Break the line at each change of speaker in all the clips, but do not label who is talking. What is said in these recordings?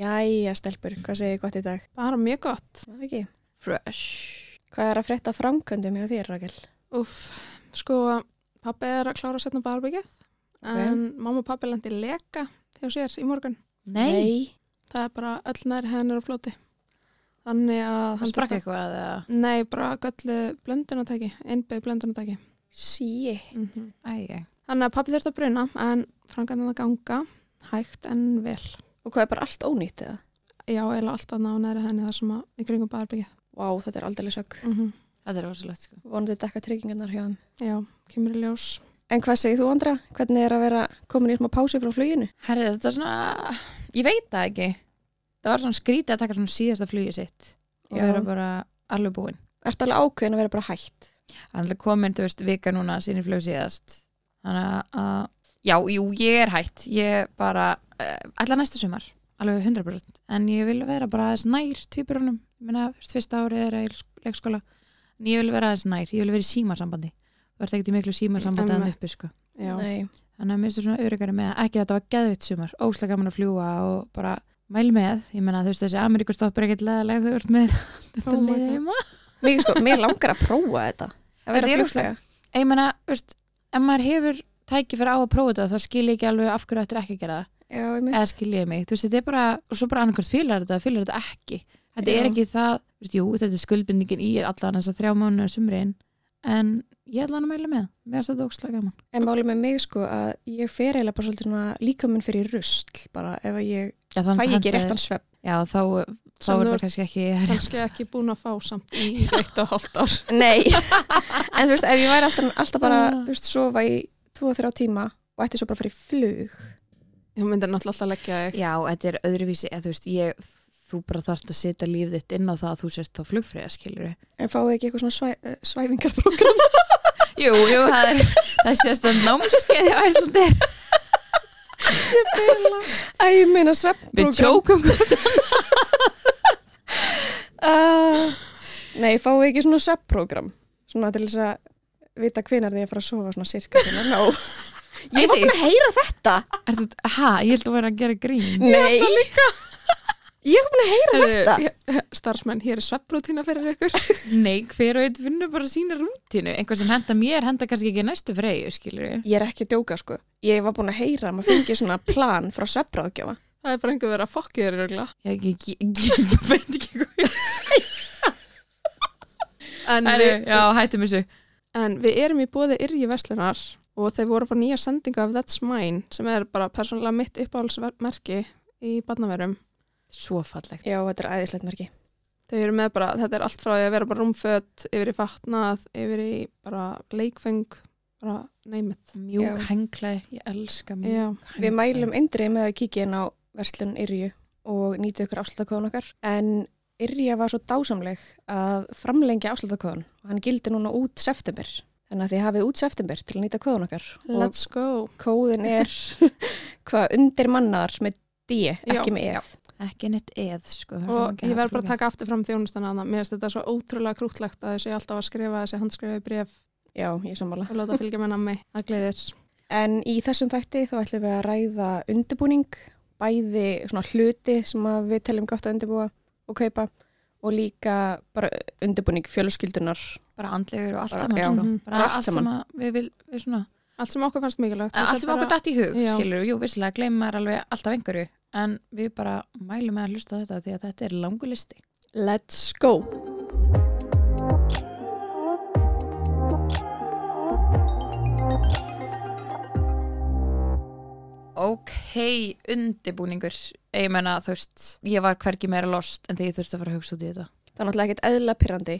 Jæja, stelpur, hvað segir gott í dag?
Bara mjög gott.
Það ekki. Fresh. Hvað er að frétta af framkvæmdum hjá þér, Rakel?
Úff, sko, pappi er að klára að setna barbyggið. En mamma og pappi lendi leka hjá sér í morgun. Það er bara öll næri hennar á flóti. Þannig að...
Það sprakk eitthvað eða?
Nei, bara göllu blöndunatæki, einbyggð blöndunatæki.
Sí.
Mm
Ægæ.
Þannig að pappi þurfti að bruna, en frangarnir að ganga, hægt en vel.
Og hvað er bara allt ónýtt eða?
Já, eða alltaf ná næri henni þar sem að í kringum barbyggið.
Vá, þetta er aldrei sökk.
Mm
Þetta er rosalegt sko.
Vonandi dekka tryggingarnar hjá þeim.
Já, kemur í ljós.
En hvað segir þú, Andra? Hvernig er að vera komin í smá pási frá fluginu?
Herrið, þetta er svona, ég veit það ekki. Það var svona skrítið að taka svona síðasta flugið sitt og
Já.
vera bara alveg búin.
Ertu alveg ákveðin að vera bara hætt?
Þannig að komin, þú veist, vika núna sín í flug síðast. Þannig að- að, já, jú, ég er hætt. Ég bara, uh, allar næsta sumar, alveg 100%. En ég vil vera bara aðeins nær tvíburunum. Ég meina, fyrst fyrsta árið er að í sk- leikskóla. En ég vil vera aðeins nær, ég vil vera í símasambandi. Þú ert ekkert í miklu símasambandi að
Einmitt.
uppi, sko.
Já.
Nei.
þannig að mér finnst þú svona öryggari með að ekki að þetta var geðvitt sumar, óslega gaman að fljúa og bara mæl með, ég menna þú veist þessi Ameríkustopp er ekkert leðalega þú ert með þetta
Oh my
liðið
God.
heima
Mér, sko, mér langar að prófa þetta. Að vera
Þetta er
flugfræga.
ég menna, þú veist, ef maður hefur tæki fyrir á að prófa þetta þá skil ég ekki alveg af hverju þetta er ekki að gera það
Já, ég mynd.
eða skil ég mig, þú veist þetta er bara og svo bara annarkvæmt fílar þetta, fílar þetta ekki þetta
Já.
er ekki það, þú veist, jú, þetta er skuldbindingin í allan þess að þrjá mánu sumrin en ég ætla hann að mæla með, mér finnst þetta óslega gaman
En málið með mig sko að ég fer eiginlega bara svolítið svona líkaminn fyrir rusl bara ef að ég
já, þann-
fæ ekki
þetta-
réttan svepp.
já, þá, þá
Sem
er
þú
þetta
ert-
kannski ekki
Kanski ekki búin að fá samt í eitt og hálft ár.
Nei, en þú veist, ef ég væri alltaf, alltaf bara,
Ah.
þú veist, sofa í 2-3 tíma og ætti svo bara að fara í flug.
Þú myndir náttúrulega alltaf leggja þig.
Já, þetta er öðruvísi, eða þú veist, ég, þú bara þarft að setja líf þitt inn á það að þú sért þá flugfræða, skilur við.
En fáið þið ekki eitthvað svona svæ, eh, svæfingarprogram?
Jú, jú, það er, það sést að námskeið á Íslandir.
Æ, ég meina sveppprogram.
Við tjókum.
Nei, fáið þið ekki svona sveppprogram. Svona til þess að vita hvenar þið er að fara að sofa svona sirka hérna? til að ná. Ég var búin að heyra þetta.
Ertu, ha, ég held að vera að gera grín.
Nei. Ég var búin að heyra þetta.
Starfsmenn, hér er svepplútína fyrir ykkur.
Nei, hver og einn finnur bara sína rútinu. Einhvað sem henda mér, henda kannski ekki næstu freyju, skilur við.
Ég er ekki að djóka, sko. Ég var búin að heyra að maður fengi svona plan frá sveppráðgjafa.
Það er bara einhver verið að fokki þér örgla.
Ég, ég, ég, ég veit ekki hvað ég
En,
er.
við-
Já, hættum þessu.
en við erum í bóði yrji verslunar og þeir voru að fá nýja sendinga af That's Mine sem er bara persónulega mitt uppáhaldsmerki í barnaverum.
Svo fallegt.
Já, þetta er æðislegt merki.
Þau eru með bara, þetta er allt frá því að vera bara rúmfött, yfir í fatnað, yfir í bara leikfeng, bara neymit.
Mjúk
Já.
henglaði, ég elska mjúk
Já,
henglaði.
Við mælum indrið með að kíkja inn á verslun Yrju og nýta ykkur afslutakóðan okkar. En Yrja var svo dásamleg að framlengja afslutakóðan og hann gildi núna út september. Þannig að þið hafið út september til að nýta kóðan okkar.
let's go.
Og kóðin er hvað undir mannar með D, ekki
Já.
með E. eð.
Ekki neitt eð, sko. það er svo
Og
mikið
ég verð bara
hallflúka.
að taka aftur fram þjónustana hana. Mér finnst þetta svo ótrúlega krútlegt að þessi alltaf að skrifa þessi handskrifaði bref
Já, ég sammála.
og láta fylgja með nammi. Það gleðir.
En í þessum þætti þá ætlum við að ræða undirbúning, bæði svona hluti sem að við teljum gott að undirbúa og kaupa og líka bara undirbúning fjölskyldunar
bara andlegur og allt
Bara-
saman
já.
sko.
Mhm.
bara
Bara allt
allt,
saman.
sem að við, vil, við svona
Allt sem okkur fannst mikilvægt. Þetta
allt
er
sem okkur
bara-
datt í hug,
Já.
skilur jú, visslega, gleymum maður alveg alltaf einhverju en við bara mælum með að hlusta á þetta því að þetta er langu listi
Let's go!
ok, undibúningur ég menna, þú veist, ég var hvergi meira lost en þegar ég þurfti að fara að hugsa út í þetta
það er náttúrulega ekkert eðla pyrrandi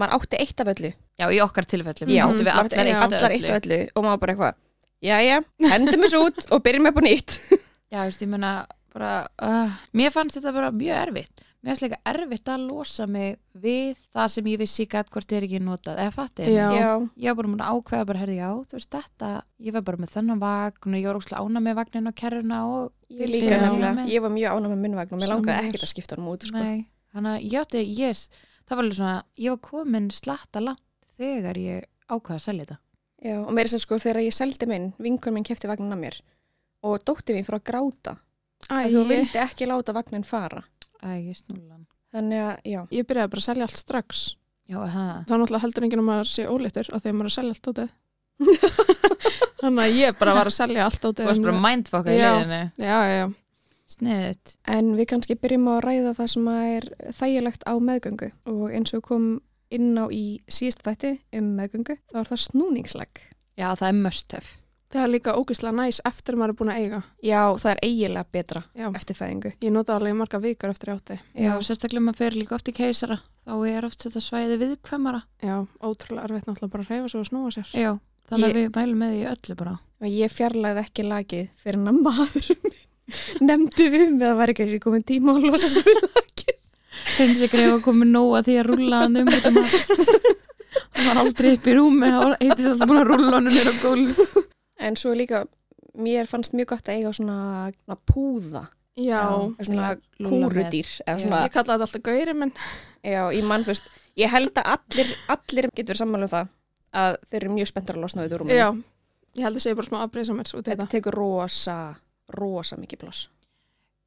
maður átti eitt af öllu
já, í okkar tilfellum,
Já,
áttum við
maður átti
allar eitt
allar eitt af öllu og maður bara eitthvað jæja, hendum þessu út og byrjum upp á nýtt
já, þú veist, ég menna, bara uh, mér fannst þetta bara mjög erfitt mér fannst líka erfitt að losa mig við það sem ég vissi gætt hvort er ekki notað eða fattið
Já.
já,
ég var bara múin að ákveða bara, herði, já, þú veist þetta ég var bara með þennan vagn og ég var óslega ána með vagnin og kerruna og
ég líka
Já.
nefnilega ég var mjög ánæg með minnvagn og mér langaði
Sammála.
ekkert að skipta honum út sko.
Nei, þannig að ég átti, yes það var alveg svona, ég var komin slatta langt þegar ég ákveða að selja þetta
já, og meira sem sko þegar ég seldi minn vinkun minn kefti vagnin að mér og dótti mín fór að gráta að þú vildi ekki láta vagnin fara.
Æ, snúlan.
Þannig að, já,
Ég byrjaði bara að selja allt strax.
Já, það.
Þá náttúrulega heldur enginn um að maður sé ólítur af því að maður er að selja allt átið. Þannig að ég bara var að selja allt
Þú
átið.
varst bara mindfucka í
Já.
liðinu.
Já, já, já.
Sniðut.
en við kannski byrjum á að ræða það sem að er þægilegt á meðgöngu og eins og við komum inn á í síðasta þætti um meðgöngu, þá er það snúningslag.
Já, það er must have.
Það er líka ógeðslega næs eftir að maður er búin að eiga.
Já, það er eiginlega betra
Já.
eftir fæðingu.
Ég nota alveg marga vikur eftir átti.
Já, sérstaklega maður fer líka oft í keisara. Þá er oft þetta svæði viðkvæmara.
Já, ótrúlega erfitt náttúrulega bara að reyfa svo og snúa sér.
Já, þannig að við mælum með því öllu bara.
og ég fjarlæði ekki lagið fyrir hann að maðurum minn nefndi við með að það var ekki eins og komin tíma að losa sér við lagið.
Þeim sér greið að koma nóa því að rúlla hann um út um allt. Hann var aldrei upp í rúmi, þá heitist alltaf búin að rúlla hann er á gólf.
En svo líka, mér fannst mjög gott að eiga svona, svona púða,
Já,
svona
Lúlla með.
kúrudýr. Eða
Já.
svona,
ég kalla þetta alltaf gauri minn.
já, ég mann, þú veist, ég held að allir, allir getur verið sammála um það að þeir eru mjög spenntar að losna við úr rúminu.
Já, ég held að segja bara smá afbreysa mér út í
Mm. Þetta
þetta.
tekur rosa, rosa mikið pláss.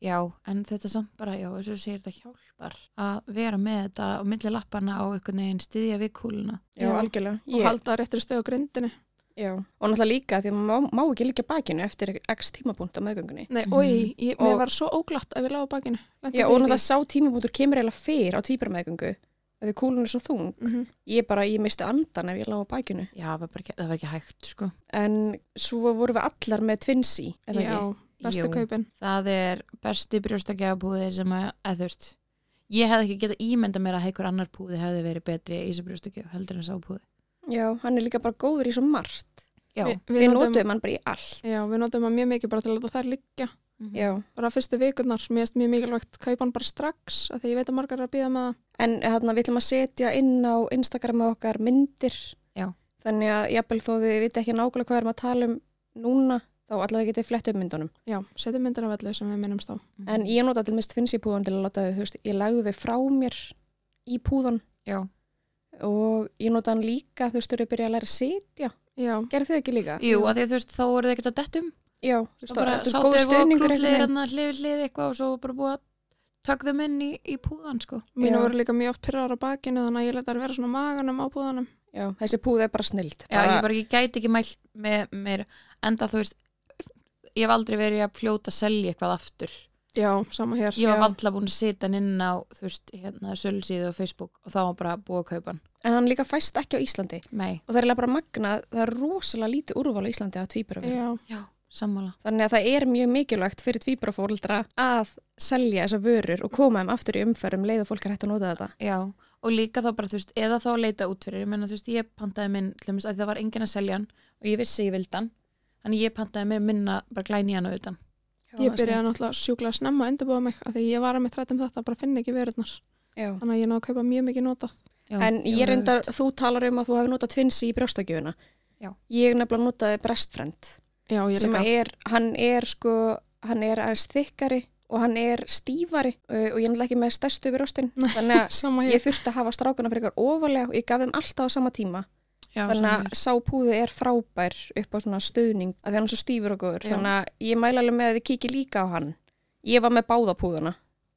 Já, en þetta samt bara, já, eins og þú segir þetta hjálpar að vera með þetta á milli lappana á einhvern veginn stiðja við kúluna.
Já,
algjörlega.
Og halda á réttri stöð á grindinni.
já. og náttúrulega líka því að maður má, má ekki líka bakinu eftir x tímapunkt á meðgöngunni.
Nei,
Mhm.
mm. oi, ég, mér
Og-
var svo óglatt að við lágum bakinu. Lenti
Já,
því
og
í því.
náttúrulega sá tímabútur kemur eiginlega fyrr á tvíbramæðgöngu að því kúlun er svo þung.
Mhm.
Ég bara, ég misti andan ef ég lág á bakinu.
Já, það var, bara, ekki- það var ekki hægt, sko.
En svo vorum við allar með tvinsi, eða
Já,
ekki?
bestu
Jú,
kaupin.
Það er besti brjóstagjafabúðir sem að, að þú veist, ég hefði ekki getað ímyndað mér að einhver annar púði hefði verið betri í þessu brjóstagjaf heldur en sá púði.
Já, hann er líka bara góður í svo margt.
Já.
Vi,
Við, notum hann bara í allt.
Já, við notum hann mjög mikið bara til að láta þær liggja.
Mhm.
Já,
Bara fyrstu vikurnar, mér erst mjög mikilvægt kaupa hann bara strax, af því ég veit að margar er að býða með það.
en þarna við ætlum að setja inn á Instagram okkar myndir.
Já.
Þannig að jafnvel þó þið viti ekki nákvæmlega hvað við erum að tala um núna, þá allavega getið flett upp myndunum.
Já, setjum myndir af öllu sem við minnumst á.
En ég nota til mist tvinsi púðan til að láta þau, þú veist, ég lagði þau frá mér í púðan
Já,
og ég nota hann líka þú veist, þau eru að byrja að læra að sitja
Já,
gerðu þau ekki líka?
jú, að því að þú veist, þá voru þið ekkert að dettum.
já, þú veist,
Það bara
þetta er
sáttu
góð
ef og
stöðningur
krútliðir hann að hlifi hérna hlið eitthvað og svo bara búið að taka þeim inn í, í púðan, sko.
mínu
Já.
voru líka mjög oft pyrrar á bakinu, þannig að ég leta þær vera svona á maganum á búðanum.
já, þessi púð er bara snild
Já, ég bara, ég gæti ekki mælt með mér, enda þú veist, ég hef aldrei verið að fljóta að selja eitthvað aftur.
Já, sama hér.
Ég var
Já.
valla búin að sita hann inn á, þú veist, hérna, sölsíðu og Facebook og þá var bara búið að kaupa hann.
en hann líka fæst ekki á Íslandi
Nei,
og það er eiginlega bara magnað, það er rosalega lítið úrval á Íslandi að tvíbyrjafélag
Já,
já, sammála.
þannig að það er mjög mikilvægt fyrir tvíbyrjafóreldra að selja þessa vörur og koma þeim aftur í umferðum leið og fólk er hægt að nota þetta
Já, og líka þá bara, þú veist, eða þá að leita út fyrir, ég menna, þú veist, ég pantaði minn, tlumist, að það var enginn að selja hann og ég vissi ég vildi hann, þannig ég pantaði mér minna bara glæni hann auðvitað.
ég byrjaði náttúrulega sjúklega snemma að undirbúa mig, af því ég var að með trætt um þetta, bara finn ekki verurnar.
náttúrulega
Þannig að ég náðu að kaupa mjög mikið notað.
Já,
En
já,
ég reyndar,
auðvitað.
þú talar um að þú hefur notað tvinsi í brjóstakjöfuna.
Já.
Ég nefnilega notaði brestfrend.
Já, ég
sem
líka.
að er, hann er sko, hann er aðeins þykkari og hann er stífari uh, og ég er náttúrulega ekki með stærstu yfir rostin þannig
Sama
að
hér.
ég þurfti að hafa strákana fyrir ykkur ofalega og ég gaf þeim alltaf á sama tíma
já,
þannig
sammála.
að sápúði er frábær upp á svona stöðning að því hann er svo stífur og góður
Já.
þannig að ég mæla alveg með að þið kikið líka á hann ég var með báða púðana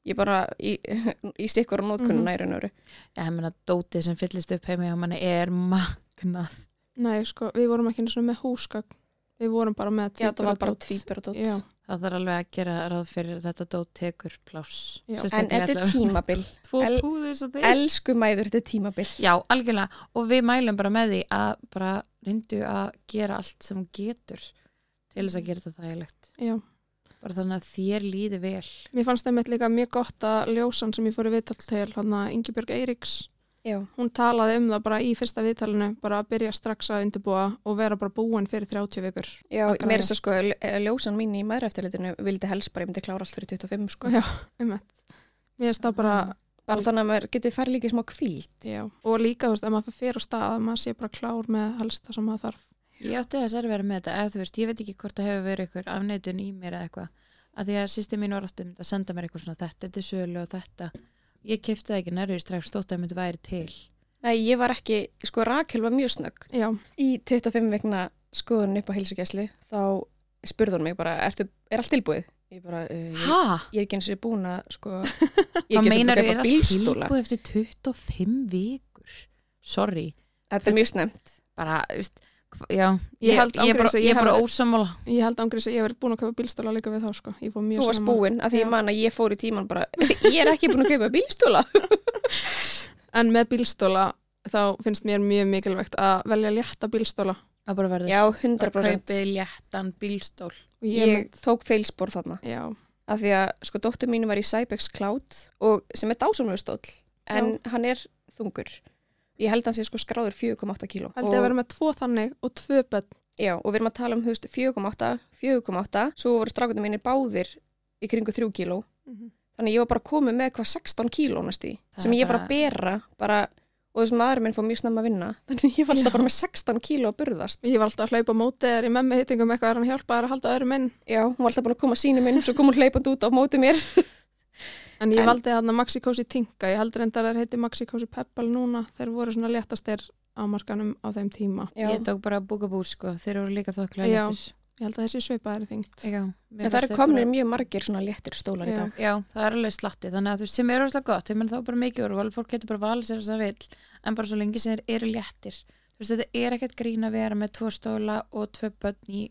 ég bara í, í stikkur og
Mhm.
nótkunnuna í raun og veru
Já, ég meina, dótið sem fyllist upp heima hjá manni er magnað.
Nei, sko, við vorum ekki einu sinni með húsgagn. Við vorum bara með
Já, það var bara
tvíburadót.
tvípur og dótt
Já,
Það þarf alveg að gera ráð fyrir að þetta dót tekur pláss.
Já.
en þetta er tímabil
Tvo
el-
púðið svo þeir.
elsku mæður, þetta er tímabil
Já, algjörlega. Og við mælum bara með því að bara reyndu að gera allt sem þú getur til þess að gera þetta þægilegt.
já.
Bara þannig að þér líði vel.
Mér fannst það með líka mjög gott að ljósan sem ég fór í viðtal til, hann að Ingibjörg Eiríks,
Já.
hún talaði um það bara í fyrsta viðtalinu, bara að byrja strax að undirbúa og vera bara búin fyrir 30 vikur.
Já,
Akkurat.
mér er þess að sko, ljó- eh, ljósan mín í maðureftirlitinu vildi helst bara, ég myndi klára allt fyrir 25 sko.
Já. Einmitt. Mér finnst það bara,
Bara þannig að maður getið farið líka í smá kvíld.
já, og líka, þú veist, ef maður fyrir á stað, að maður sé bara klár með helst það sem maður þarf.
Ég átti þess að vera með þetta, eða þú veist, ég veit ekki hvort það hefur verið ykkur afneitun í mér eða eitthvað að því að sýsti mín var áttum að senda mér eitthvað svona þetta, þetta er sölu og þetta ég kefti það ekki nærvið strax þótt að myndi væri til
Nei, ég var ekki, sko Rakel var mjög snögg.
Já,
Í 25 vegna skoðun upp á heilsugjæsli þá spurði hún mig bara, Ertu, er allt tilbúið? Ég bara, uh, ég,
Hæ?
ég er ekki eins og búin að, sko, ég er ekki eins
Hvað
og búin
meinar er
að
að
bílstóla.
tilbúið eftir 25 vikur? Sorry.
Þetta er mjög snemt.
Bara, veist, hva- já,
Ég
ég,
held
ég, er bara,
ángriðs að ég
ég er bara
hafi-
ósamála.
Ég held ángriðs að ég hef verið búin að kaupa bílstóla líka við þá sko. Ég fór mjög
Þú varst
snemma.
búin, af því
Já.
ég man að ég fór í tíman bara, ég er ekki búin að kaupa bílstóla.
En með bílstóla þá finnst mér mjög mikilvægt að velja létta bílstóla.
Það bara verður.
Já,
Já,
100%.
Kaupið léttan bílstól.
Og ég,
Ég tók feilspor þarna.
Já,
Af því að, sko, dóttur mínu var í Cybex Cloud og, sem er dásamlega stóll, en hann er þungur. Ég held að hann sé sko skráður 4,8 kíló.
held ég að vera með tvo þannig og tvö bönn.
Já, og við erum að tala um, þú veist, 4,8, 4,8, svo voru strákunum mínir báðir í kringu 3 kíló.
Mhm.
Þannig ég var bara komið með hvað 16 kíló næstu í,
Það
sem
er
ég var að
bara-
bera bara, og þessum maður minn fór mjög snemma að vinna. Þannig ég var alltaf bara með 16 kíló að burðast.
Ég var alltaf að hlaupa á móti þegar í memmi hittingum um eitthvað er hann hjálpað að halda öðrum inn.
Já, hún var alltaf búin að koma sínu minn, svo kom hún hleypandi út á móti mér.
En ég
En-
valdi þarna Maxi Cosi Tinka, ég held reyndar að þeir heiti Maxi Cosi Peppal núna, þeir voru svona léttastir á markanum á þeim tíma.
Já,
Ég tók bara að búka bú, sko. Þeir eru líka þokklega
Já.
léttir.
Ég held að þessi svipaðir þyngt.
Já. mér
en það
fannst
eru
þeir
komnir
bara-
mjög margir svona léttir stólar í
Já.
dag.
Já, það er alveg slatti. Þannig að þú veist, sem er alveg gott, ég menn þá er bara mikið úrval, fólk getur bara valið sér þess að það vill, en bara svo lengi sem þeir eru léttir. Þú veist, þetta er ekkert grín að vera með tvo stóla og tvö börn í,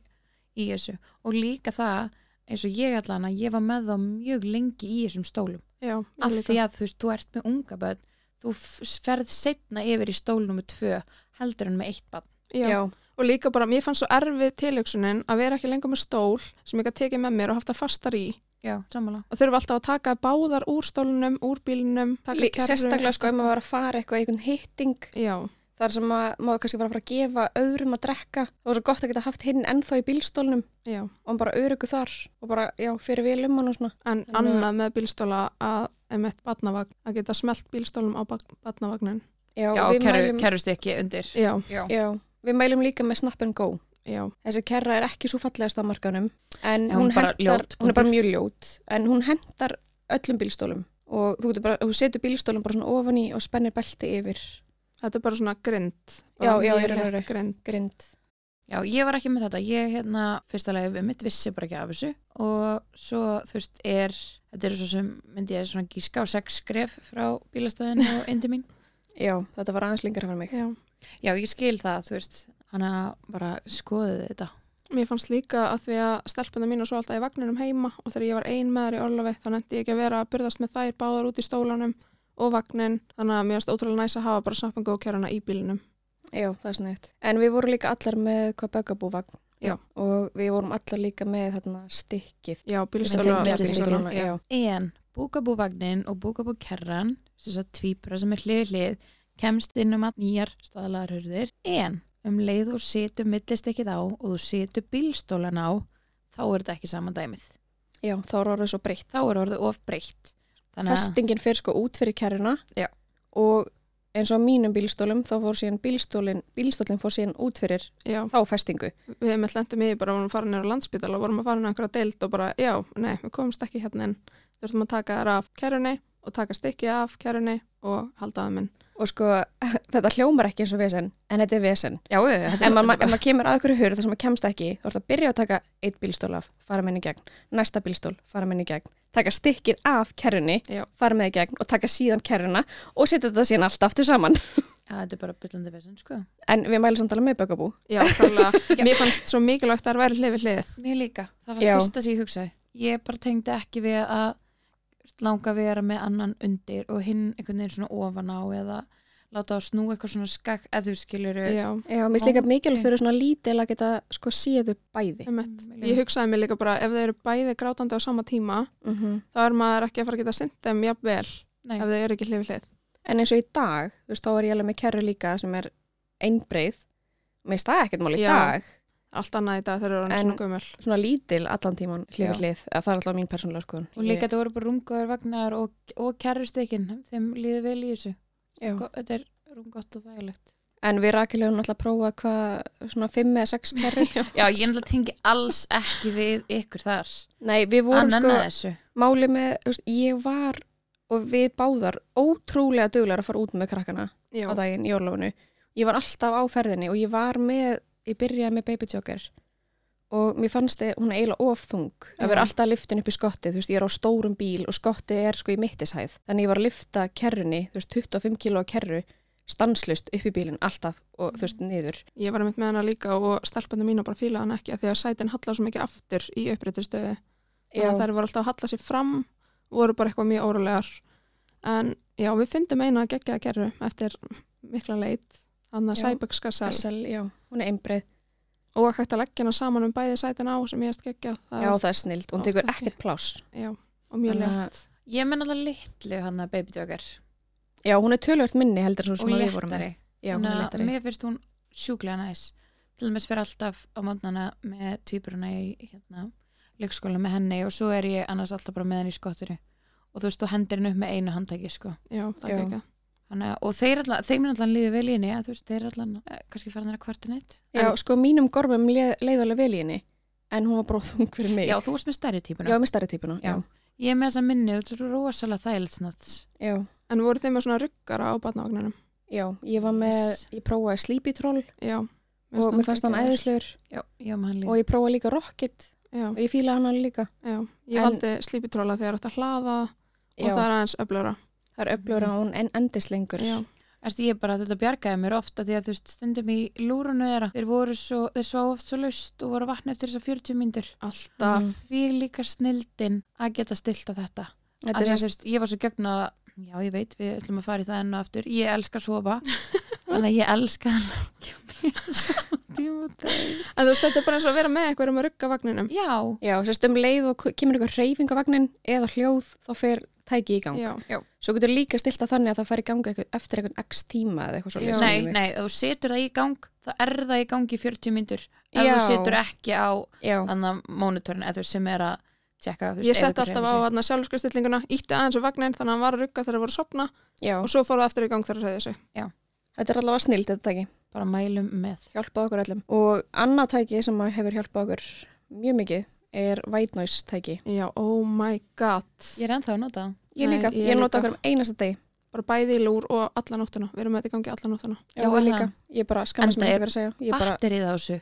í þessu. Og líka það, eins og ég allan að ég var með þá mjög lengi í þessum stólum.
Já, ég
Af því
líka.
að þú veist, þú ert með unga börn, þú f- ferð setna yfir í stól nummer tvö, heldur en með eitt barn.
Já. Og líka bara, mér fannst svo erfið tilöksunin að vera ekki lengur með stól sem ég gæti tekið með mér og haft það fastar í.
Já, sammála.
Og þurfa alltaf að taka báðar úr stólunum, úr bílunum, taka
Lí-
kerru.
Sérstaklega sko ef maður var að fara eitthvað í einhvern hitting
Já,
þar sem að, maður kannski var að fara að gefa öðrum að drekka það var svo gott að geta haft hinn ennþá í bílstólnum
já.
og hann bara örugu þar og bara, já, fyrir vel um hann og svona
En
Þannig að-
annað með bílstóla að, emitt, batnavagn, að geta smelt bílstólum á batnavagnin.
Já,
Já,
og við
kerru,
mælum,
kerrust ekki undir.
Já,
Já.
já, við mælum líka með Snap and Go
já.
þessi kerra er ekki svo fallegast á markanum en
Já, hún
hún,
bara
hentar,
ljót,
hún
punktur.
er bara mjög ljót en hún hentar öllum bílstólum og þú, getur bara, þú setur bílstólum bara svona ofan í og spennir belti yfir
Þetta er bara svona grind.
Já,
Bara
já,
mjög
í raun og
létt
veru.
Grind.
grind
Já, ég var ekki með þetta. Ég, hérna, fyrsta lagi við mitt vissi bara ekki af þessu og svo, þú veist, er, þetta eru svo sem myndi ég svona gíska á sex skref frá bílastæðinu og indi mín.
Já, þetta var aðeins lengra fyrir mig
Já.
Já, ég skil það, þú veist, hann að bara skoðið þetta.
Mér fannst líka að því að stelpunum mínu svo alltaf í vagninum heima og þegar ég var ein með þær í orlofi þá nefndi ég ekki að vera að byrðast með þær báðar út í stólanum og vagnin þannig að mér finnst ótrúlega næs að hafa bara snappingu og kærana í bílinum.
Já, það er snögt. En við vorum líka allar með hvað bögabúvagn.
Já.
Og við vorum allar líka með þarna stikkið.
Já, bílstóla.
Stóla-
Með
bílstóla,
stikkið,
já.
já.
En búkabúvagnin og búkabúkerran, þess að tvíbura sem er hlið við hlið, kemst inn um að nýjar staðlaðarhörður. En um leið og setur millist ekkið á og þú setur bílstólan á, þá er þetta ekki saman dæmið.
Já, þá var orðið svo breytt.
Þá er orðið of breytt. Þannig að-
Festingin fyrir sko út fyrir kerruna.
Já.
Og eins og á mínum bílstólum, þá fór síðan bílstólinn, bílstólinn fór síðan út fyrir
Já,
þá festingu.
við hefum lendið mig bara vorum farin nýra landsbytal og vorum að fara nýra einhverja deild og bara já, nei, við komumst ekki hérna en þurftum að taka þær af kærunni og taka stikki af kærunni og halda að minn.
Og sko, þetta hljómar ekki eins og vesen, en þetta er vesen.
Já, já, já, þetta
En
er
maður- ef maður kemur að ykkur hurð þar sem maður kemst ekki, þá er þetta að byrja að taka eitt bílstól af, fara með henni í gegn, næsta bílstól, fara með henni í gegn, taka stikkið af kerrunni,
Já.
fara með henni í gegn og taka síðan kerruna og setja þetta síðan allt aftur saman.
Já, þetta er bara byllandi vesen, sko.
En við mælum samt alveg með bökabú.
Já, klálega. mér fannst svo mikilvægt að þær væri hlið við hlið.
Mér líka. Það var
Já.
fyrsta sem ég hugsaði. Ég bara tengdi ekki við að langa að vera með annan undir og hinn einhvern veginn svona ofan á eða láta á snú eitthvað svona skakk eða þú skilur
Já.
Já, mér
finnst líka mikilvægt
mikilvægt þau eru svona lítil að geta sko séðu bæði.
Emmett.
Mm,
Ég hugsaði mér líka bara ef þau eru bæði grátandi á sama tíma
Mm.
Mhm.
þá er maður ekki að fara að geta sinnt þeim jafnvel
Nei,
ef þau eru ekki hlifið hlið.
En eins og í dag, þú veist, þá var ég alveg með kerru líka sem er einbreið. Mér finnst það ekkert mál í
Já.
dag.
Allt annað í dag þegar þau eru
En-
svona gömul.
Svona lítil allan tíman
Já.
hlifir hlið. Eða Það er alltaf mín persónulega skoðun.
og líka þetta voru bara rungaður vagnar og, og kærrustekin, þeim líður vel í þessu.
Já.
Go- Þetta er rungott og þægilegt.
En við rækilegum alltaf að prófa hvað svona fimm eða sex kerrur.
Já, ég náttúrulega tengi alls ekki við ykkur þar.
Nei, við vorum
Annan
sko
að þessu.
máli með, þú veist, ég var og við báðar ótrúlega duglegar að fara út með krakkana
Já.
á daginn í orlofinu. Ég var alltaf á ferðinni og ég var með, ég byrjaði með Baby Joker og mér fannst þið, hún er eiginlega ofþung að
Já.
vera alltaf að liftin upp í skottið, þú veist, ég er á stórum bíl og skottið er sko í mittishæð þannig ég var að lifta kerrunni, þú veist, 25 kíló af kerru stanslust upp í bílinn alltaf og þú
Mm.
veist, niður
Ég var einmitt með hana líka og stelpandi mína bara fílaði hana ekki af því að sætin hallar svo mikið aftur í uppréttistöði. Þannig að
það er,
þær voru alltaf að halla sér fram voru bara eitthvað mjög órólegar. En já, við fyndum eina að gegja að kerru eftir mikla leit þannig að
Já.
sæbökska sæl
sel, já, hún er einbreið,
og hægt að leggja hana saman um bæði sætin á sem ég hefst gegja það
já, það er snild hún
Oft
tekur
ekki.
ekkert pláss, Uh,
já, og mjög
Þannig að-
létt
Ég menn alltaf litlu hann að Baby Joker
já, hún er tölvört minni heldur en svo
og
sem að við vorum með
léttari.
já, hún er
Þannig að
léttari,
Mér finnst hún sjúklega næs. Til dæmis fyrir alltaf á mótnana með týpuruna í hérna, leikskóla með henni og svo er ég annars alltaf bara með henni í skottinu. Og þú veist, þú hendir henni upp með einu handtæki, sko.
já, það
Já.
er gegja
Þannig að, og þeir allan, þeim er allan lífið vel í henni, að þú veist, þeir er allan, eh, kannski farin þeirra kvartin eitt.
já, sko mínum gormum leiðarlega vel í henni en hún var bara þung fyrir mig
Já, þú veist með stærri
já,
týpuna.
með starri típuna, já,
Ég er með þessa minni, þú eru rosalega þægildsnátt.
já.
en voru þeim með svona ruggara á batnavagnanum
Já, ég var með,
Yes.
ég prófaði Sleepy Troll
já,
og mér fannst hann
geggjaður.
æðislegur
Já, já, með hann líka.
og ég prófaði líka Rocket
já,
og ég fílaði hann alveg líka.
já, ég
En-
valdi slípitróla þegar þetta hlaða og
Já,
það er aðeins öflöra
það er öflugur að hún en endist lengur.
já,
Erst, ég bara, þetta bjargaði mér ofta því að þú veist, stundum í lúrunu þeirra þeir voru svo, þeir svo oft svo laust og voru á vatni eftir þessar 40 myndur
alltaf
Mm.
því líka snildin að geta stilt á þetta,
Þetta
að
er
því að
sérst,
þú veist, ég var svo gögn að já, ég veit, við ætlum að fara í það enn og aftur ég elska að sofa þannig að ég elska að leggja mér samtíma
en þú veist, þetta er bara eins og að vera með eitthvað um að rugga vagninum
já,
já, sérst um leið og kemur eitthvað reyfing á vagnin eða hljóð, þá fer tæki í gang.
já,
Svo getur líka stilt að þannig að það fær í ganga eitthvað, eftir eitthvað x tíma eða eitthvað
Já.
svolítið.
nei, nei, ef þú setur það í gang þá er það í gang í 40 myndur ef
Já.
þú setur ekki á
Já,
annan monitorin eða þú veist, sem er að tjekka, þú veist,
ég
ef
sett
þú
alltaf
hreyfir sig.
á sjálfskustillinguna ítti aðeins á vagnin þannig að hann var að rugga þegar það voru að sopna
já,
og svo fór það aftur í gang þegar það reyði sig
þetta er allavega snild þetta tæki.
bara mælum með
Hjálpað okkur öllum. Og annað tæki sem að hefur hjálpað okkur mjög mikið er white noise tæki.
já, oh my god
ég er ennþá að nota það.
Ég
Nei,
líka,
ég
ég, nota
líka.
okkur um einasta degi.
bara bæði í lúr og alla nóttuna við erum með þetta í gangi alla nóttuna
Já,
Já,
ég
er
líka.
það?
Ég bara skammast mér ekki
Enda
verið að segja. Ég bara,
batterið á þessu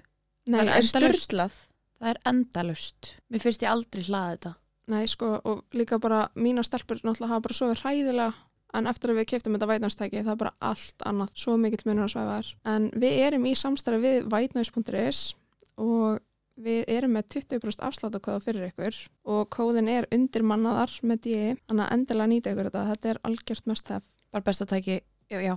það
nei,
er
er
endalaust.
styrlað.
það er endalust mér finnst ég aldrei hlaða þetta
nei, sko, og líka bara mína stelpur náttúrulega hafa bara sofið hræðilega en eftir að við keftum þetta vætnarstæki það er bara allt annað, svo mikill munur að svæfa þær en við erum í samstarfi við vætnaus.is og við erum með 20% afsláttakóða fyrir ykkur og kóðin er undirmannaðar með DE, þannig að endilega nýta ykkur þetta þetta er algjört mest hef
bara best að tæki, já, já.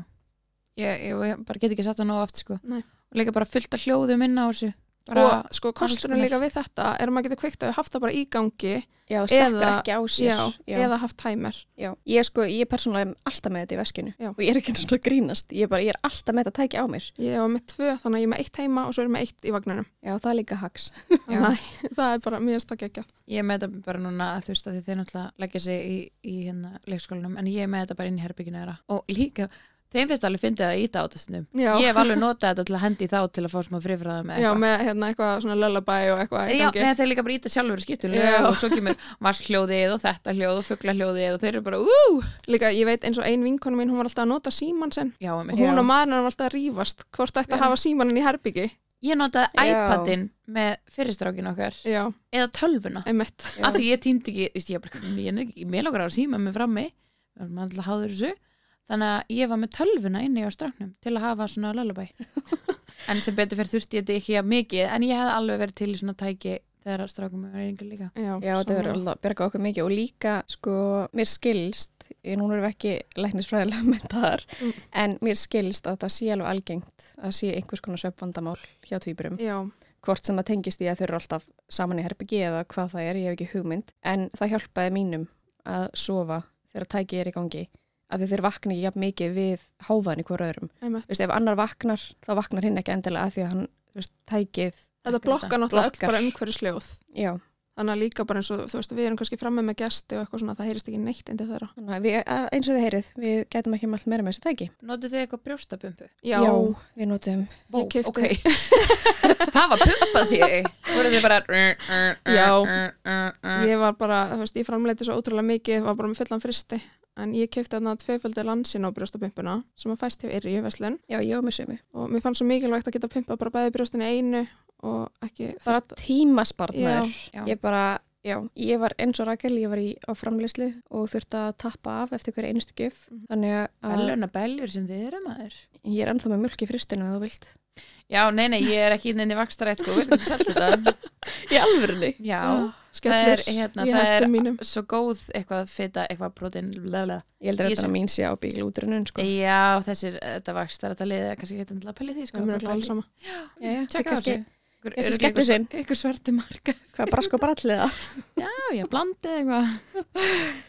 Ég, ég, ég bara get ekki sett það nóg oft sko.
Nei.
og líka bara fullt af hljóðum inn á þessu bara,
og sko kosturinn
konar.
líka við þetta er að maður getur kveikt að við haft það bara í gangi
Já, sleppur
Eða-
ekki á sér.
já, eða haft tæmer
já. Ég sko, ég persónulega er alltaf með þetta í veskinu.
Já.
Og ég er ekki eins og svona að grínast. Ég, er bara, ég er alltaf með þetta tæki á mér.
Ég var með tvö, þannig að ég er með eitt heima og svo er ég með eitt í vagninum.
Já, það er líka hax.
Þannig að það er bara mjög stakk ekki.
ég er með þetta bara núna þú veist að því þeir náttúrulega leggja sig í, í hérna leikskólanum en ég er með þetta bara inn í herbygginu þeirra og líka, þeim finnst alveg fyndið að íta á þetta stundum
Já,
ég hef alveg notað þetta til að hendi þá til að fá smá frifræða með
já með hérna eitthvað svona lullaby og eitthvað í
Já,
gangi.
neða þeir líka bara íta sjálfur skiptum
Já.
og svo kemur vaskljóðið og þetta hljóð og fugglahljóðið og þeir eru bara úú
Líka ég veit eins og ein vinkonu mín, hún var alltaf að nota síman sinn.
Já, einmitt.
Og hún og maðurinn var alltaf að rífast hvort ætti að hafa símaninn í herbyggi.
ég notaði
Já.
iPadin með fyrirstrákin okkar
Já,
eða tölvuna
einmitt.
Já.
af því ég týndi ekki, veist, ég, bara, ég, er ekki- mér langar að síma mig frammi maður alltaf háður þessu þannig að ég var með tölvuna inni á strafnum til að hafa svona lullabæ en sem betur fyrir þurfti ég þetta ekki að mikið en ég hefði alveg verið til í svona tæki þegar að strákum er einhver líka
Já,
Já, þetta
svona.
verður alveg að berga okkur mikið. Og líka, sko, mér skilst, ég núna erum við ekki læknisfræðilega með þar,
Mm.
en mér skilst að það sé alveg algengt að sé einhvers konar söpvandamál hjá tvíburum.
Já,
Hvort sem það tengist í að þau eru alltaf saman í herbyggi eða hvað það er, ég hef ekki hugmynd. En það hjálpaði mínum að sofa þegar tæki er í gangi. Af því þeir vakna ekki jafn mikið við háfaðan í hver öðrum.
einmitt.
þú veist, ef annar vaknar, þá vaknar hinn ekki endilega að því að hann, þú veist, tækið,
Þetta blokkar náttúrulega öll
Blokkar.
bara umhverjusljóð.
já,
Þannig að líka bara eins og, þú veist, við erum kannski framme með gesti og eitthvað svona, það heyrist ekki neitt indi þeirra.
þannig að við, að- eins og þið heyrið, við getum ekki mall meira með þessi tæki.
Notið þið eitthvað brjóstapumpu?
Já,
við notum,
Vó,
Ég keypti-
ok Það var pumpað sér voruð þið bara Já
Ég var bara, þú veist, ég framleiti svo ótrúlega mikið, var bara með fullan fristi. En ég kefti þarna tveiföldu lansin á brjóstapumpuna sem að fæst hefur yrri í veslun
já, ég og með sömu.
og mér fannst svo mikilvægt að geta pumpað bara bæði brjóstin í einu og ekki
bara
þurft-
tímaspartnaður
Já.
ég bara, já, ég var eins og Rakel ég var í, á framleyslu og þurfti að tappa af eftir hverja einstu gjöf
Mhm.
þannig að
Belluna belljur sem þið eru maður.
ég er ennþá með mjölk í fristinu ef þú vilt
Já, nei, nei, ég er ekki inn inn í vakstarætt sko, við erum ekki selt þetta.
í alvörli
Já,
Ah,
það er,
skellur
hérna,
í
það er
hættum mínum
svo góð eitthvað fita, eitthvað protein, blablabla.
ég heldur
Ég
að þetta mín sé á bíglútrunum sko.
Já, þessir, þetta vakstarætt að liða, kannski ekki endilega að pæli því sko.
það er mjög
bara
alls sama
já, já,
Tjekka á
kannski,
þessu. Ykkur-
kannski skellur
örugglega ykkur-
sinn.
Ykkur svartu marka.
hvað brask og brallið það
Já, já, blandið eitthvað.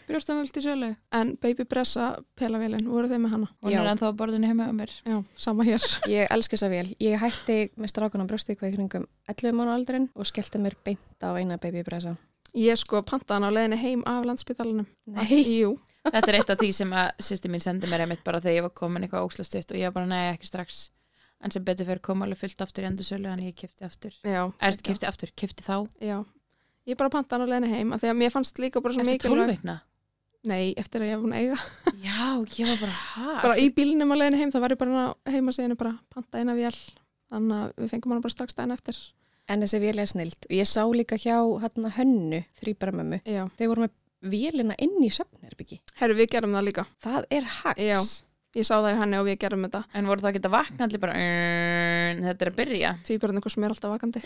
Brjóstamöld í sölu.
en Baby Bressa pelavélin, voru þið með hana?
Hún
Já.
er ennþá á borðinu heima á mér.
Já, sama hér
ég elska þessa vel, ég hætti með strákan á brjósti hvað í kringum 11 mánu aldrin og skellti mér beint á eina babybresa
ég sko pantaði hana á leiðinni heim af landspítalanum
nei,
jú,
Þetta er eitt af því sem að sýsti mín sendi mér einmitt bara þegar ég var komin eitthvað óslastutt og ég var bara nei ekki strax en sem betur fyrir kom alveg fullt aftur í endursölu en ég kefti aftur,
já,
er, kefti aftur, kefti þá
já ég bara pantaði hana á leiðinni heim af því að mér fannst líka bara svo
eftir
mikilvæg-
tólveikna
Nei, eftir að ég hef búin að eiga
Já, ég var bara hæ
bara í bílnum að leiðinu heim, það var ég bara hérna inn á heimasíðinu bara panta eina vél þannig að við fengum hana bara strax daginn eftir
en þessi vel er snild og ég sá líka hjá hérna hönnu þrýbaramömmu,
Já,
þeir voru með vélina inn í söfnerbyggi,
herru við gerum það líka
það er hax
Já. ég sá það í henni og við gerum þetta
En voru þá ekki að vakna allir bara "Mm, þetta er að byrja
því bara einhver sem er alltaf vakandi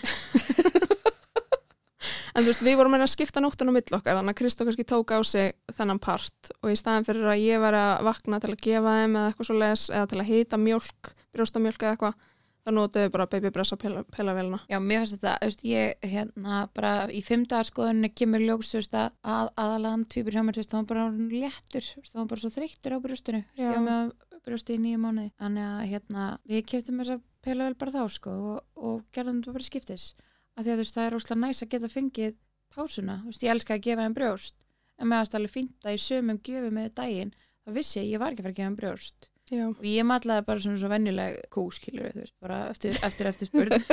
En þú veist, við vorum að reyna að skipta nóttunum mill okkar, þannig að Kristó kannski tók á sig þennan part og í staðin fyrir að ég var að vakna til að gefa þeim eða eitthvað svo les eða til að hýta mjólk, brjóstamjólk eða eitthvað, þá notuðu við bara baby bressa pela, pelavélina.
Já, mér finnst þetta, þú veist, ég hérna bara í fimmdagarskoðunni kemur ljós, þú veist, að- að aðalagan tvíbur hjá mér, þú veist, hann var bara orðinn léttur, þú veist, hann var bara svo þreyttur á brjóstinu, þú veist,
Já.
ég var með brjósti í nýju mánuði, þannig að hérna, við keftum þess að pela vel bara þá, sko, og, og gerðum þetta bara skiptis, af því að þú veist, það er óslega næs að geta fengið pásuna, þú veist, ég elska að gefa þeim brjóst, en með aðstæðlega fínt að í sömum gjöfum með daginn, þá vissi ég, að ég var ekki að fara að gefa þeim brjóst
Já,
og ég matlaði bara svona svo venjuleg kúskilur, þú veist, bara eftir, eftir, eftir spurð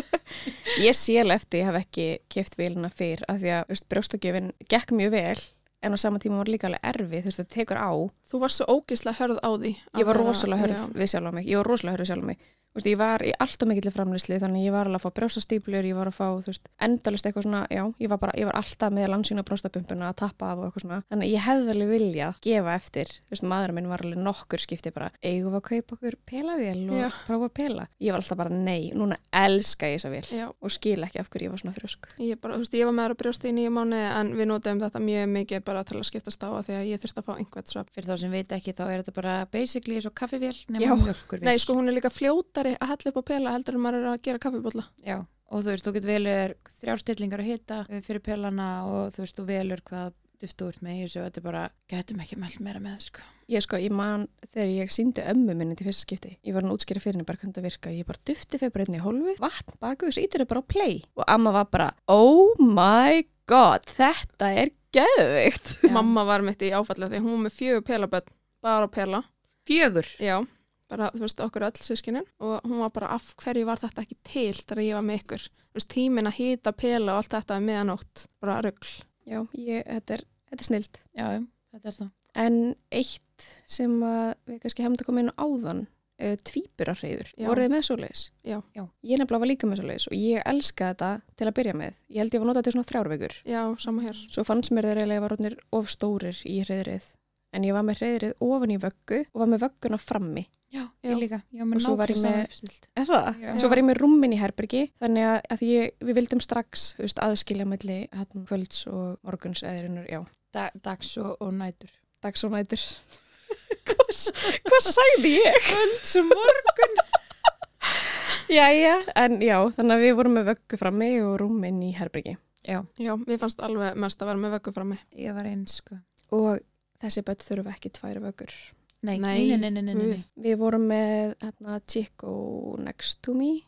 Ég sél eftir ég hef ekki keft vélina fyrr af því að þú veist, brjóstagjöfin gekk mjög vel en á sama tíma var líka alveg erfið þú veist það tekur á.
þú varst svo ógislega hörð á því. að
Ég var
vera-
rosalega hörð
Já.
við sjálf á mig. Ég var rosalega hörð við sjálf á mig. Þú veist ég var í allt og mikill framlýsli þannig að ég var alveg að fá brjóstastýplur, ég var að fá þú veist endalist eitthvað svona, já, ég var bara, ég var alltaf með landsýna brjóstabumpuna að tappa af og eitthvað svona. Þannig að ég hefði alveg vilja gefa eftir, þú veist maður minn var alveg nokkur skipti bara, eigum við að kaupa okkur pelavél og
Já.
prófa að pela. Ég var alltaf bara nei, núna elska ég þessa vél
Já,
og skil ekki af hverju ég var svona þrjósk.
ég, bara, þú veist, ég var með að brjósti í nýju mánu en við notuðum þetta mjög mikið bara til að skiptast á að því að ég þurfti að fá einhvern svefn.
fyrir þá sem veit ekki þá er þetta bara basically eins og kaffivél
Já.
nema mjölkurvél
Nei, sko, hún er líka fljótari að hella upp á pela heldur en maður er að gera kaffibólla.
Já. og þú veist, þú getur velur þrjár stillingar að hita eh, fyrir pelana og þú veist, þú velur hvað duftu úr með í þessu og þetta er bara, getum ekki meld meira með sko.
Ég sko, ég man þegar ég síndi ömmu minni til fyrsta skipti. Ég var hann útskýra fyrir henni bara hvernig það virkar. Ég bara dufti fyrir bara einni í hólfið, vatn baku og svo ítir það bara á play. Og amma var bara, oh my god, þetta er geðvikt.
Mamma var mitt í áfallið því hún var með fjögur pelaböld, bara pela.
Fjögur
Já, bara, þú veist, okkur öll sískinin og hún var bara, af hverju var þetta ekki til þegar ég var með ykkur? Þú veist, tímin að hýta pela og allt þetta með meðanótt, bara rugl.
Já, ég, þetta er, þetta er snilt.
Já, já, þetta er það
En eitt sem að við kannski hefum þetta komið inn á áðan, uh, tvíburarreiður.
Já.
Voruð þið með svoleiðis?
Já.
Já.
Ég nefnilega var líka með svoleiðis og ég elska þetta til að byrja með. Ég held ég var notað til svona þrjárveikur.
Já, sama hér.
Svo fannst mér þeir eiginlega varunir of stórir í reyðrið. En ég var með reyðrið ofan í vöggu og var með vögguna frammi.
Já,
Já.
ég líka, já, með
Og svo var ég
nákvæmlega
með-
sama uppstilt
Er það?
Já.
Svo var ég með rúmmin í herbergi þannig að, að því ég, við vildum strax þú veist, aðskilja melli hérna, kvölds og morguns eðrinur, já,
da, Dags og, og nætur
dags og nætur. hvað, s- hvað sagði ég? Kvölds og morgun. Jæja, en já, þannig að við vorum með vöggu frammi og rúmmin í herbergi.
Já,
Já, mér fannst alveg mest að vera með vöggu frammi.
ég var eins sko
Og þessi börn þurfa ekki tvær vöggur.
Nei, nei,
Nei,
nei, nei, nei, nei, nei.
guð.
Við vorum með hérna, Chico Next to Me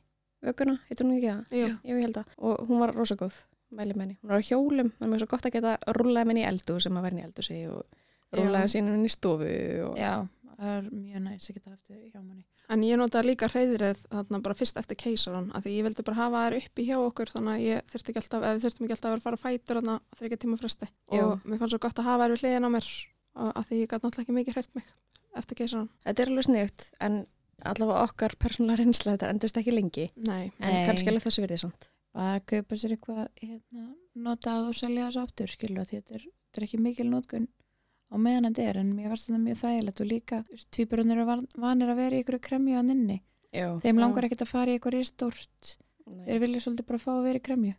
vögguna, heitur hún ekki það?
Já,
Já.
Jú, ég held að. Og hún var rosa góð, mæli með henni. Hún var á hjólum, það er mjög svo gott að geta rúlaði með henni í eldu sem að vera henni í eldu sig og rúlaði
Já.
sínum henni í stofu og
Já, það er mjög næs að geta haft þau hjá manni
En ég notaði líka hreyðrið þarna bara fyrst eftir keisaran af því ég vildi bara hafa þær uppi hjá okkur þannig að ég þurfti ekki alltaf, eða þurfti ekki alltaf að vera að fara að fætur þarna á þryggja tíma fresti
Já.
og mér fannst svo gott að hafa þær við hliðin á mér og- af því ég gæti náttúrulega ekki mikið hreyft mig eftir keisaran.
þetta er alveg sniðut en allavega okkar persónulega reynsla þetta endist ekki lengi
Nei,
en
Nei.
kannski alveg þessu verðið samt.
bara að kaupa sér eitthvað hérna, notað og selja þessu aftur skilur að þetta er, þetta er ekki mikil notkun á meðan þetta er en mér varst þetta mjög þægilegt og líka tvíburunir eru van- vanir að vera í ykkur kremju á ninni
Já.
þeim langar ekkert að fara í eitthvað ristórt
Nei.
þeir vilja svolítið bara fá að vera í kremju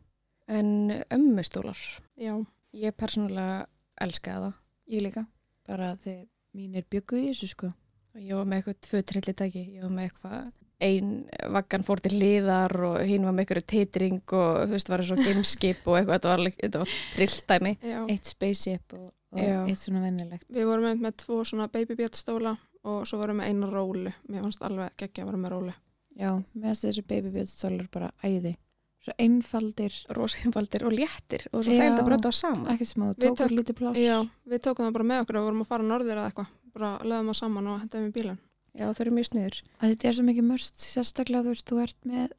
En ömmustólar,
Já,
ég persónulega elska það.
ég líka, bara þeir mínir byggu í þessu sko
Og Ég var með eitthvað tvö trilli tæki, ég var með eitthvað ein vaggan fór til hliðar og hinn var með eitthvað titring og þú veist var eins og gameskip og eitthvað, þetta var, alveg- þetta var trilltæmi.
já.
eitt spaceship og, og
Já.
eitt svona vennilegt
Við vorum með, með tvo svona babybjörnstóla og svo vorum við með eina rólu. Mér fannst alveg geggja að vera með rólu.
já, meðast þessu babybjörnstólar bara æði svo einfaldir,
Rósheimfaldir og léttir og svo
Já.
þældi bara þetta saman.
ekki smá,
Við
tókur
tók-
lítið pláss
Já, við tókum það bara með okkur og vorum að fara norðir eða eitthvað. Bara löðum það saman og hentum í bílan.
Já þau eru mjög sniður.
að þetta er svo mikið mörst sérstaklega þú veist, þú ert með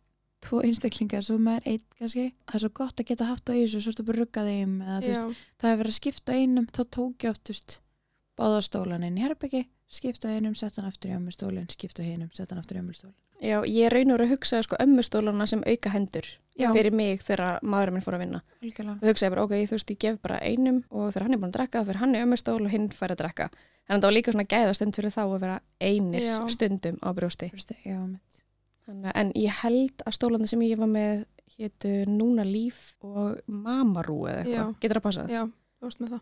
tvo einstaklingar, svo maður einn kannski það er svo gott að geta haft á þessu, svo ertu bara að rugga þeim eða, þú veist,
Já,
það er verið að skipta einum þá tók ég oft, þú veist, báða stólan inn í herbyggi, skipta einum, sett hann aftur í ömmustólin, skipta einum, sett hann aftur í ömmustólin
Já ég reynur að hugsa sko ömmustólana sem auka hendur
já,
fyrir mig þegar maðurinn minn fór að vinna.
algjörlega
Þú hugsaði bara ok, þú veist ég gef bara einum og þegar hann er búin að drekka þá fyrir hann í ömmustól og hinn fær að drekka. Þannig að það var líka svona gæðastund fyrir þá að vera einir
Já.
stundum á brjósti.
Þú veist, já, mitt.
Þannig, að- en ég held að stólandi sem ég var með hétu Núna Líf og Mamarú eða eitthvað.
Já.
Getur að passa það?
já, þú varst með það.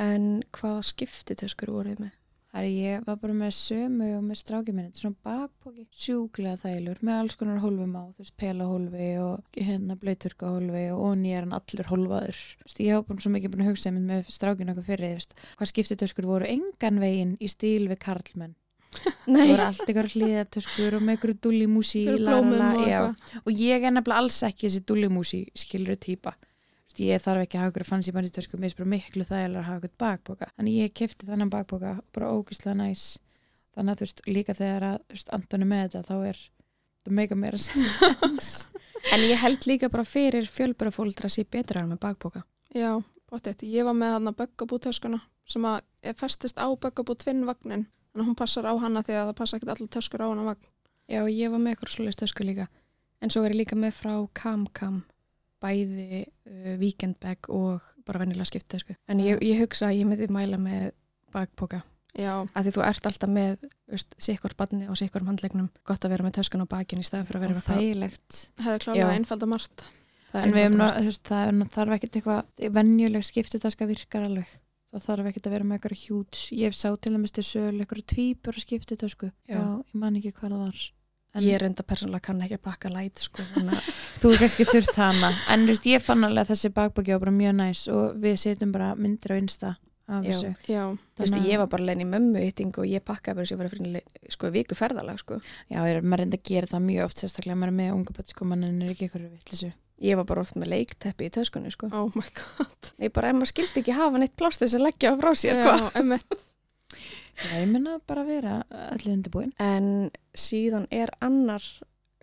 En hvaða skiptitöskur voruð þið með?
Það er ég var bara með sömu og með stráki minni, þetta er svona bakpóki, sjúklega þælur með alls konar hólfum á, þú veist, pelahólfi og hérna blöyturkahólfi og onni er hann allur hólfaður. Þú veist, ég hafa bara svo mikið búin að hugsa einmitt með strákinu okkur fyrir, þú veist, hvað skiptitöskur voru engan veginn í stíl við karlmenn. Það voru allt ykkur hliðatöskur og með ykkur dullimúsi,
Fyrir
la, la,
blómum
la,
og
já.
eitthvað.
Og ég er nefnilega alls ekki þessi dullimúsi skilur týpa. Þú veist, Ég þarf ekki að hafa ykkur fanns í banditösku, mér er bara miklu þægilega að hafa ykkur bakboka. Þannig ég kefti þannan bakboka og bara ógislega næs. Þannig að þú veist, líka þegar að þú veist, Anton er með þetta, þá er það meika meira sens.
En ég held líka bara fyrir fjölbörafólitra sé betra en með bakboka.
Já, bóttið. Ég var með hann að böggabútöskuna sem að er festist á böggabú tvinnvagnin. Þannig að hún passar á hana þegar það passa ekkert allir töskur á hana vagn.
Já, ég var með eitthvað svoleiðis tösku líka. En svo er ég líka með frá KamKam, bæði uh, weekendbag og bara vennilega skiptitösku. En ég, ég hugsa að ég myndi mæla með bakboka.
Já,
Af því þú ert alltaf með þú veist, sikkur barni og sikkur handlegnum. Gott að vera með töskan á bakinn í staðan fyrir að vera
Og
með það
þægilegt.
hefði
Já.
klálega einfalda margt.
Það
En við hefum, ná-
náttúrulega
þú veist, það er- þarf ekkert eitthvað, venjuleg skiptitaska virkar alveg. Það þarf ekkert að vera með eitthvað hjúts. Ég sá til að misti sölu eitthvað tvíbur skiptitasku.
Já.
Já. ég man ekki hvað það var. En-
Ég reynda persónulega kann ekki að pakka læt sko, þannig að
þú er kannski þurft hana en þú veist, ég fann alveg að þessi bakbaki var bara mjög næs og við setjum bara myndir á insta
Já.
af þessu
Já,
þú veist,
Þannig að-
ég var bara lein í mömmu ytting og ég pakkaði bara þess að ég var að finna le- sko, viku ferðalag sko.
já, ég, maður reyndi að gera það mjög oft sérstaklega maður er með unga bætt sko, mann en er ekki eitthvað vittlisu
Ég var bara oft með leikteppi í töskunni sko.
oh my god.
Ég bara, en maður skildi ekki hafa neitt plást þess að leggja á frá sér sko.
Já, emmi.
já, ég minna bara að vera allir undirbúin
En síðan er annar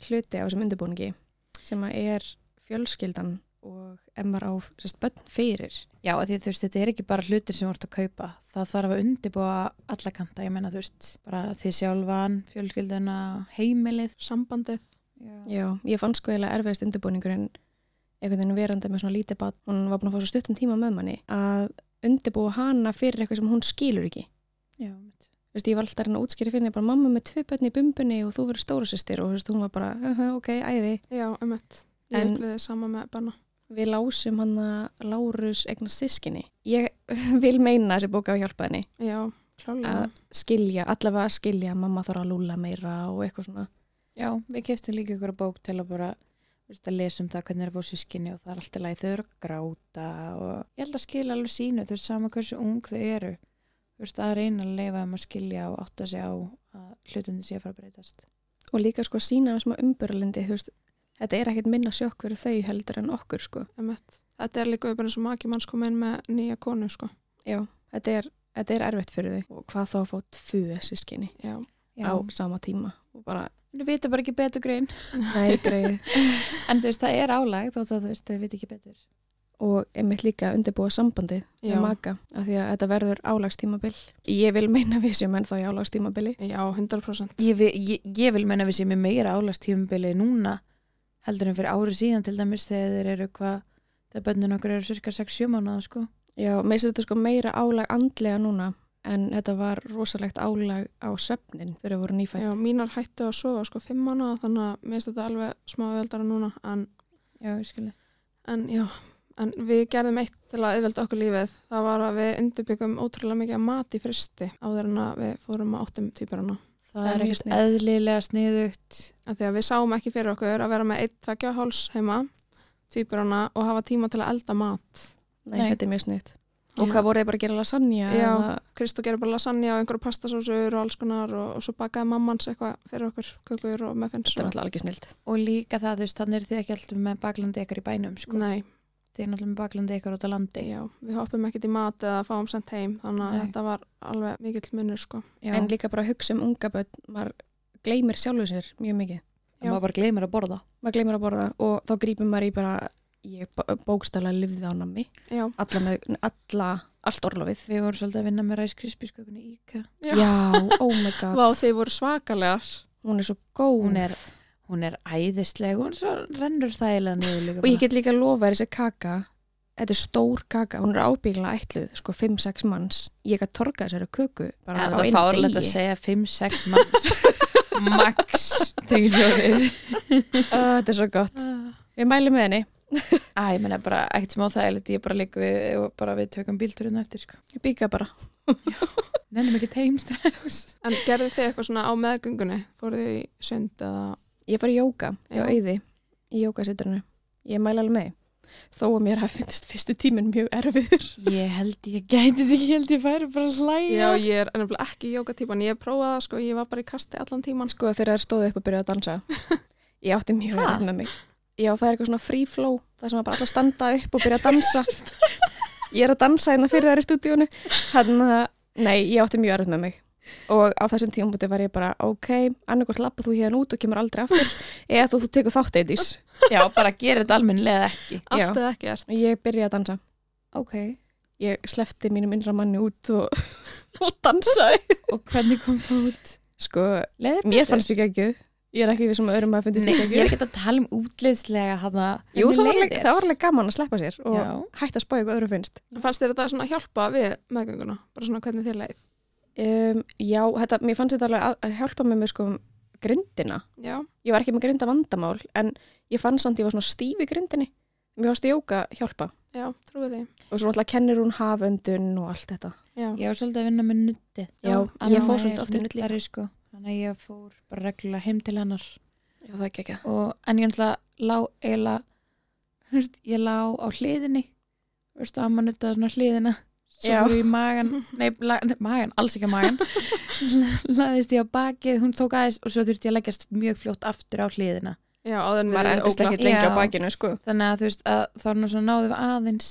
hluti á þessum undirbúningi sem að er fjölskyldan og ef maður á sérst, bönn fyrir
já, af því, þú veist, þetta er ekki bara hlutir sem þú ert að kaupa það þarf að undirbúa alla kanta ég menna, þú veist, bara því sjálfan fjölskylduna, heimilið
Sambandið.
já,
Já, ég fann sko eiginlega erfiðist undirbúningurinn einhvern veginn verandi með svona lítið bat hún var búin að fá svo stuttum tíma með manni að undirbúa hana fyrir eitthvað sem hún skilur ekki
já, mitt.
Vist, ég var alltaf að reyna að útskýri fyrir henni bara mamma með tvö bönni í bumbunni og þú verður stóra sýstir og vist, hún var bara, uh ok, æði
Já, emmi. Ég
En-
upplýði sama með banna.
við lásum hann að Lárus egna sískinni ég vil meina þessi bóka að hjálpa henni
Já, klálega.
að skilja, allavega að skilja að mamma þarf að lúla meira og eitthvað svona
já, við keftum líka ykkur bók til að bara þú veist, að lesa um það hvernig er að fá sískinni og það er alltaf læg, þau eru að gráta og ég held að skilja alveg sínu, þau eru sama hversu ung þau eru þú veist, að reyna að leifa um að skilja og átta sig á að hlutandi sé að fara að breytast
og líka sko sína um umburlendi veist, þetta er ekkert minna sjokk fyrir þau heldur en okkur sko
Emmett. Þetta er líka upp eins og maki manns kom inn með nýja konu, sko.
Já, þetta er, þetta er erfitt fyrir þau og hvað þá að fá tvö sískinni
Já.
já,
á sama tíma og bara,
þau vita bara ekki betur grein
nei greið
en þú veist, það er álag þótt að þú veist, þau vita ekki betur
og einmitt líka undirbúa sambandið
Já.
með maka af því að þetta verður álagstímabil ég vil meina við sem enn þá í álagstímabili
Já, 100%.
ég, vi- ég, ég vil menna við séum í meira álast tímubili núna heldur en fyrir árið síðan til dæmis þegar þeir eru hvað þegar bönnin okkur eru cirka 6-7 mánuða sko.
Já, meðs þetta sko meira álag andlega núna en þetta var rosalegt álag á söfnin þegar það voru nýfætt.
Já, mínar hættu að sofa sko fimm mánuða þannig að mér finnst þetta alveg smá öðaldara núna en,
Já, ég skilja.
en já, en við gerðum eitt til að auðvelda okkur lífið það var að við undirbyggum ótrúlega mikið mat í fristi áður en að við fórum að áttum týparana
Það,
Það
er
er ekki
mjög
sniðugt.
eðlilega sniðugt.
af því að við sáum ekki fyrir okkur að vera með eitt, tveggja háls heima týparana og hafa tíma til að elda mat
Nei,
Nei.
þetta er mjög sniðt. Og hvað voru þið bara að gera lasagna?
Já.
eða-
Kristó gerir bara lasagna og einhverju pastasósur og alls konar og, og svo bakaði mammans eitthvað fyrir okkur, kökur og muffins
Þetta er
og...
náttúrulega alveg snilt.
Og líka það, þú veist, þannig er þið ekki alltaf með baklandi ykkur í bænum, sko.
Nei,
Þið er náttúrulega með baklandi ykkur út á landi.
já, við hoppum ekkert í mat eða fáum sendt heim, þannig að
Nei.
þetta var alveg mikill munur sko.
Já.
En líka bara að hugsa um unga börn, maður gleymir sjálfu sér mjög mikið.
En maður bara gleymir að borða.
Maður gleymir að borða og þá grípur maður í bara, ég bókstala lifði á nammi,
Já,
alla með, alla, allt orlofið.
Við vorum svolítið að vinna með ræskrispískökunni íka.
Já.
Já, oh my god.
Vá, þeir voru svakalegar.
Hún er svo góð.
Hún er- Hún er æðisleg, hún svo rennur þægilega niður líka.
Og ég
bara.
get líka lofa þér þessi kaka, þetta er stór kaka, hún er ábyggilega ætluð, sko 5-6 manns. Ég gæti torga þessari köku bara
En
á
það
einu
fárlegt
degi.
að segja 5-6 manns. Max. Þrýsjóðir.
Ó, Þetta er svo gott. Við mælum með henni.
Æ, ég menna bara ekkert smá þægilegt, ég bara líka við, ef bara við tökum bílturinn eftir, sko.
Ég bíka bara.
Nennum ekki teimstræðis.
En gerðu þið eitthvað svona á meðgöngunni? Fóruð þið í sund eða...
Ég fari í jóka, ég
Já.
á auði í jókasitrunu. Ég mæla alveg með. Þó að mér hafi finnst fyrsti tíminn mjög erfiður.
Ég held ég gæti þetta ekki, ég held ég færi bara að
Já,
hlæja.
ég er ennumlega ekki jókatýpan, ég prófaði það sko, ég var bara í kasti allan tíman.
Sko þegar það stóðu upp og byrjaði að dansa. Ég átti mjög
Ha?
erfitt með mig. Já, það er eitthvað svona free flow, það sem að bara allar standa upp og byrja að dansa. Ég er að dansa hérna fyrir þær í stúdíónu. Þannig að, nei, ég átti mjög erfitt með mig. Og á þessum tímabúti var ég bara, ok, annarkvæmst lappa þú hérna út og kemur aldrei aftur, eða þú, þú tekur þátt eitthís.
Já, bara gera þetta almennilega ekki.
Já.
Allt eða ekkert.
Ég byrjaði að dansa.
Ok.
ég slefti mínum innra manni út og, og dansaði.
Og hvernig kom það út?
Sko,
Leður
mér fannst ekki ekki, ég er ekki við sem öðrum að fundi
Nei, ég er ekki að tala um útliðslega hana.
Jú, það var, alveg, það var alveg gaman að sleppa sér og
Já.
hætta að spája hvað öðrum finnst.
Fannst þér þetta svona hjálpa við meðgönguna? Bara svona hvernig þið leið?
Um, já, þetta, mér fannst þetta alveg að, að hjálpa mér með sko grindina.
Já,
Ég var ekki með grinda vandamál en ég fann samt ég var svona stíf í grindinni. Mér fannst jóka hjálpa
já, trúið því.
og svo alltaf kennir hún haföndun og allt þetta.
Já.
Ég var svolítið að vinna með nutti.
Já,
Anna
ég fór
er
svolítið oft í nudd líka.
nuddari, sko. Þannig að ég fór bara reglulega heim til hennar.
Já, það er ekki ekki.
Og, en ég náttúrulega lá eiginlega, þú veist, ég lá á hliðinni. Þú veist, amma nuttaði svona hliðina. Svo
Já.
fór ég í magan, nei, la, nei, magan, alls ekki á magan. Laðist ég á bakið, hún tók aðeins og svo þurfti ég að leggjast mjög fljótt aftur á hliðina.
Já, áður en
Maður
þið
endist
óglatt.
ekki lengi
Já.
á bakinu, sko.
þannig að þú veist að þá er nú svona náðum við aðeins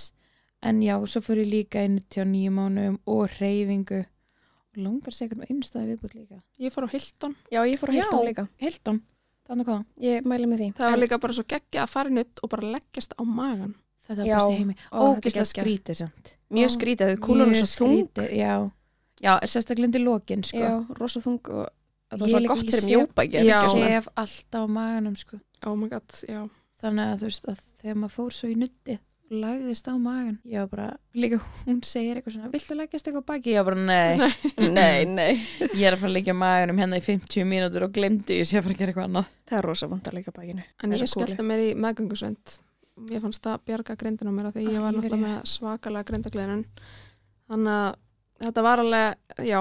en já, svo fór ég líka í 99 mánuðum og reyfingu og langar segjum um einnstæði viðbútt líka
Ég fór á Hilton.
Já, ég fór að heilta
Já.
hún líka.
Hildum, þannig hvað
Ég mæli með því.
Það var
En-
líka bara svo geggja að fara í nutt og bara leggjast á magan.
þetta var
Já,
besti heimi,
ó, þetta er
ógislega
geggjað.
skrítið samt
Mjög skrítið, þau kúlan er
Mjög
svo þung
skrítið, já, já sérstaklega undir lokin sko.
Já, rosa þung og það var
Ég
svo
líka-
gott
ég
fyrir
sé-
mjópa
Já.
ég
ekki
sef alltaf á maganum sko.
Oh my god, já.
þannig að þú veist að þegar maður fór svo í nutti og lagðist á magan ég var bara, líka hún segir eitthvað svona viltu leggjast eitthvað á baki, ég var bara nei
Nei, nei
Ég er að fara að leggja maðurum hérna í 50 mínútur og glemdi ég sé að fara að gera eitthvað annað.
Það er rosa vond að leika bækinu
En
Þessa
ég
kúlu.
skellti mér í meðgöngusönd. Ég fannst það bjarga grindin á mér af því ég
Æ,
var náttúrulega með svakalega grindagliðinun. Þannig að þetta var alveg, já,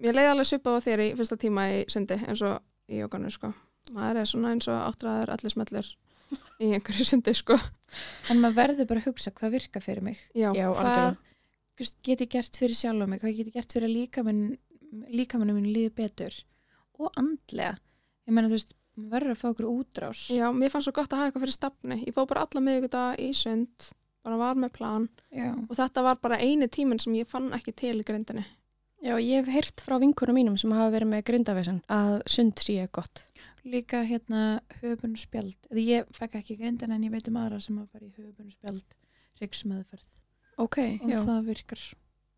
ég leiði alveg svipað á þér í fyrsta tíma í sundi eins og í jókanu, sko. Maður er svona eins og áttræður allir smellur í einhverju sundi, sko.
En maður verður bara að hugsa hvað virka fyrir mig.
Já,
Já,
hvað-
algjörlega
Þú veist, Get ég gert fyrir sjálf mig, hvað get ég gert fyrir að líkaminn- líkamannu mínu líði betur og andlega. Ég meina þú veist, maður verður að fá okkur útrás.
já, mér fannst svo gott að hafa eitthvað fyrir stafni. Ég fó bara alla miðvikudaga í sund, bara var með plan
Já.
og þetta var bara eini tíminn sem ég fann ekki til í grindinni.
Já, ég hef heyrt frá vinkunum mínum sem hafa verið með grindavesen að sund sé gott
Líka hérna höfun spjald. Því ég fekk ekki grindin en ég veit um aðra sem að fara í höfun spjald ríksmeðferð.
Ok,
Og það virkar.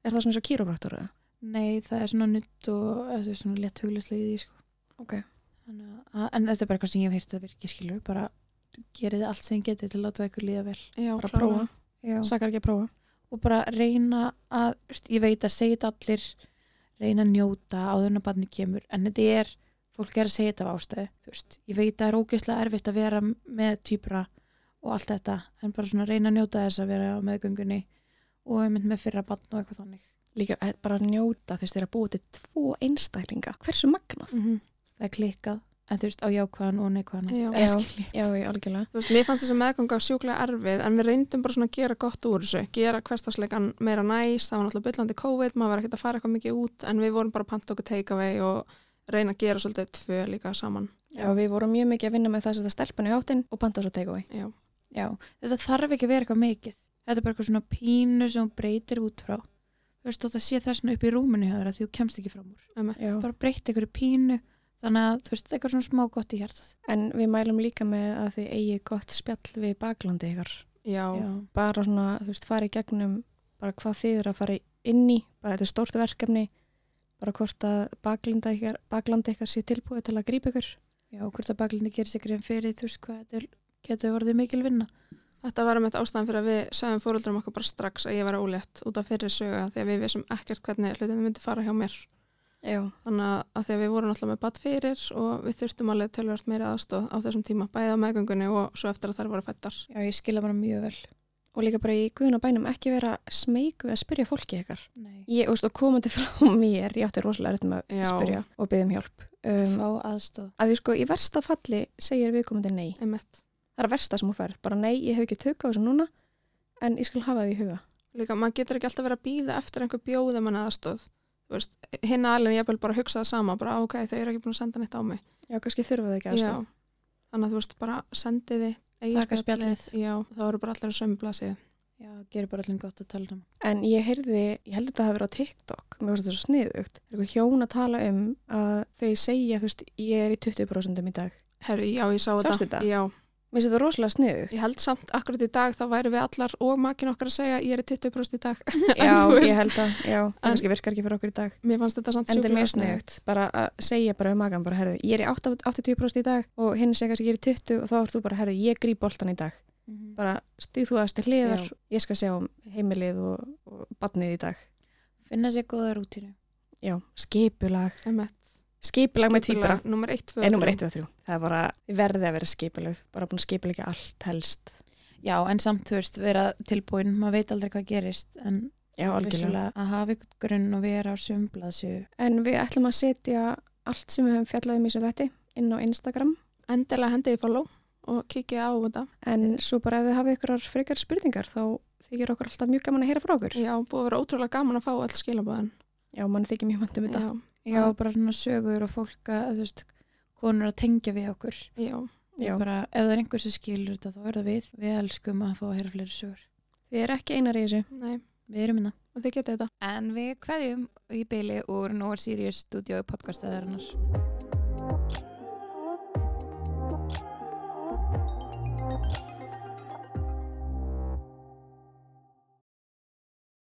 Er það svona svo kýróbraktur eða?
Nei, það er svona nutt og eða þú veist, svona létt huglislega í því sko.
Ok.
Þannig að- En þetta er bara eitthvað sem ég hef heyrt að virki skilur bara gerið allt sem getið til að láta ykkur líða vel
Já,
bara
klárlega.
prófa,
Já.
sakar ekki að prófa
og bara reyna að, þú veist, ég veit að segja þetta allir reyna að njóta áður en að barni kemur en þetta er, fólk er að segja þetta af ástöðu þú veist, ég veit að það er ógeðslega erfitt að vera með týpra og allt þetta en bara svona reyna að njóta þess að vera á meðgöngunni og einmitt með fyrra barn og eitthvað þannig
líka eh, bara að njóta þess þeirra búið til tvo einstaklinga, hversu magnað
Mhm.
það er klikkað, en þú veist, á jákvæðan og neikvæðan
Já.
Eða skilji.
já, ég algjörlega
Þú veist, mér fannst þessi meðganga sjúklega erfið en við reyndum bara svona að gera gott úr þessu gera hverstagsleikan meira næs það var náttúrulega byllandi COVID, maður var ekkert að fara eitthvað mikið út en við vorum bara að panta okkur takeaway og reyna að gera svolítið tvö líka saman
já, við vorum mjög mikið að vinna með það að setja stelpan í háttinn og panta svo takeaway
Já,
Já, þetta þarf ekki að vera eitthvað mikið. Þetta er bara eitthvað svona pínu sem hún breytir út frá. Þú veist, þótt að sé þess svona upp í rúminu hjá þér að þú kemst ekki fram úr.
emmett
já.
Bara breytt einhverju pínu, þannig að þú veist, eitthvað svona smá gott í hjartað.
en við mælum líka með að þið eigið gott spjall við baklandi ykkar
Já,
bara svona, þú veist, fara í gegnum bara hvað þið eru að fara inn í bara þetta er stórt verkefni bara hvort að baklanda ykkar, baklandi ykkar sé tilbúið til að grípa ykkur
Já, og hvort að baklindi gerir sér grein fyrir, þú veist, hvað þetta er- getur orðið mikil vinna.
þetta var emmett ástæðan fyrir að við sögum fóröldurum okkar bara strax að ég var ólétt út af fyrir söga því að við vissum ekkert hvernig hlutinni myndi fara hjá mér
Já,
þannig að- að því að við vorum alltaf með bad fyrir og við þurftum alveg tölvöld meira aðstóð á þessum tíma, bæðið á meðgöngunni og svo eftir að þær voru fættar.
Já, ég skila bara mjög vel.
og líka bara í guðunabænum ekki vera smeyku að spyrja fólki ykkar
Nei.
ég, og sko, komandi frá mér, ég átti rosalega rétt með að
Já.
spyrja og byggja um hjálp um,
Fá aðstóð.
að því sko, í versta falli segir viðkomandi nei
Emmett.
það er að versta sem hún færð, bara nei, ég hef ekki tök á þessu núna en ég skal hafa því í huga
Líka, maður getur ekki alltaf verið að býða eftir einhver bjóðum en aðstóð. Þú veist, hinn aðlinn ég bara að hugsa það sama, bara "Á, ok, þau eru ekki búin að senda neitt á mig.
Já, kannski þurfa þau ekki
Já.
aðstoð
Þannig að þú veist, bara sendiði,
Taka spjallið.
Já, þá eru bara allir að sömu blasið.
Já, gerir bara allir gott að tala um.
En ég heyrði, ég held að það hafi verið á TikTok, mér finnst þetta svo sniðugt. Það er eitthvað hjón að tala um að þau segja, þú veist, ég er í 20% í dag.
Herru, já, ég sá
Sástu þetta?
Já,
Mér finnst þetta rosalega sniðugt.
ég held samt akkurat í dag þá væri við allar og makin okkar að segja ég er í 20% í dag.
Já,
þú veist-
ég held að, já, það kannski virkar ekki fyrir okkur í dag.
Mér fannst þetta samt
En þetta er
sjúklega
mjög sniðugt, bara að segja bara um magan, bara, herðu, ég er í 8 80% í dag og hinn segja kannski ég er í 20 og þá ert þú bara, herðu, ég grýp boltan í dag.
Mm.
Bara stíð þú aðstu hliðar,
Já.
ég skal sjá um heimilið og, og badnið í dag.
Finna sér góða rútínu.
Já, skipulag,
Emmett.
skipulag með týpra.
Númer 1, 2
En nummer 1 og 3. Það er bara verðið að vera skipilögð, bara búin að skipilegja allt helst.
Já, en samt, þú veist, vera tilbúin, maður veit aldrei hvað gerist, en
Já, algjörlega.
Vissulega að hafa ykkur grunn og vera á sömblaðsju
En við ætlum að setja allt sem við höfum fjallað um í svo þetta inn á Instagram.
Endilega hendiði follow og kikið á þetta.
En svo bara ef þið hafið ykkurar frekar spurningar þá þykir okkur alltaf mjög gaman að heyra frá okkur.
Já, búið að vera ótrúlega gaman að fá all skilabóðin.
Já, mann þykir mjög vandum þetta.
Já,
já,
Já.
bara svona sögur og fólk að, þú veist, konur að tengja við okkur
já.
Já.
bara, ef það er einhver sem skilur þetta, þá er það við við elskum að fá að heyra fleiri sögur
Þið er ekki einar í þessu.
Nei,
við erum hérna. innan
og þið getið þetta.
En við kveðjum í byli úr Nóar Sirius stúdíu podcastaðarinnar.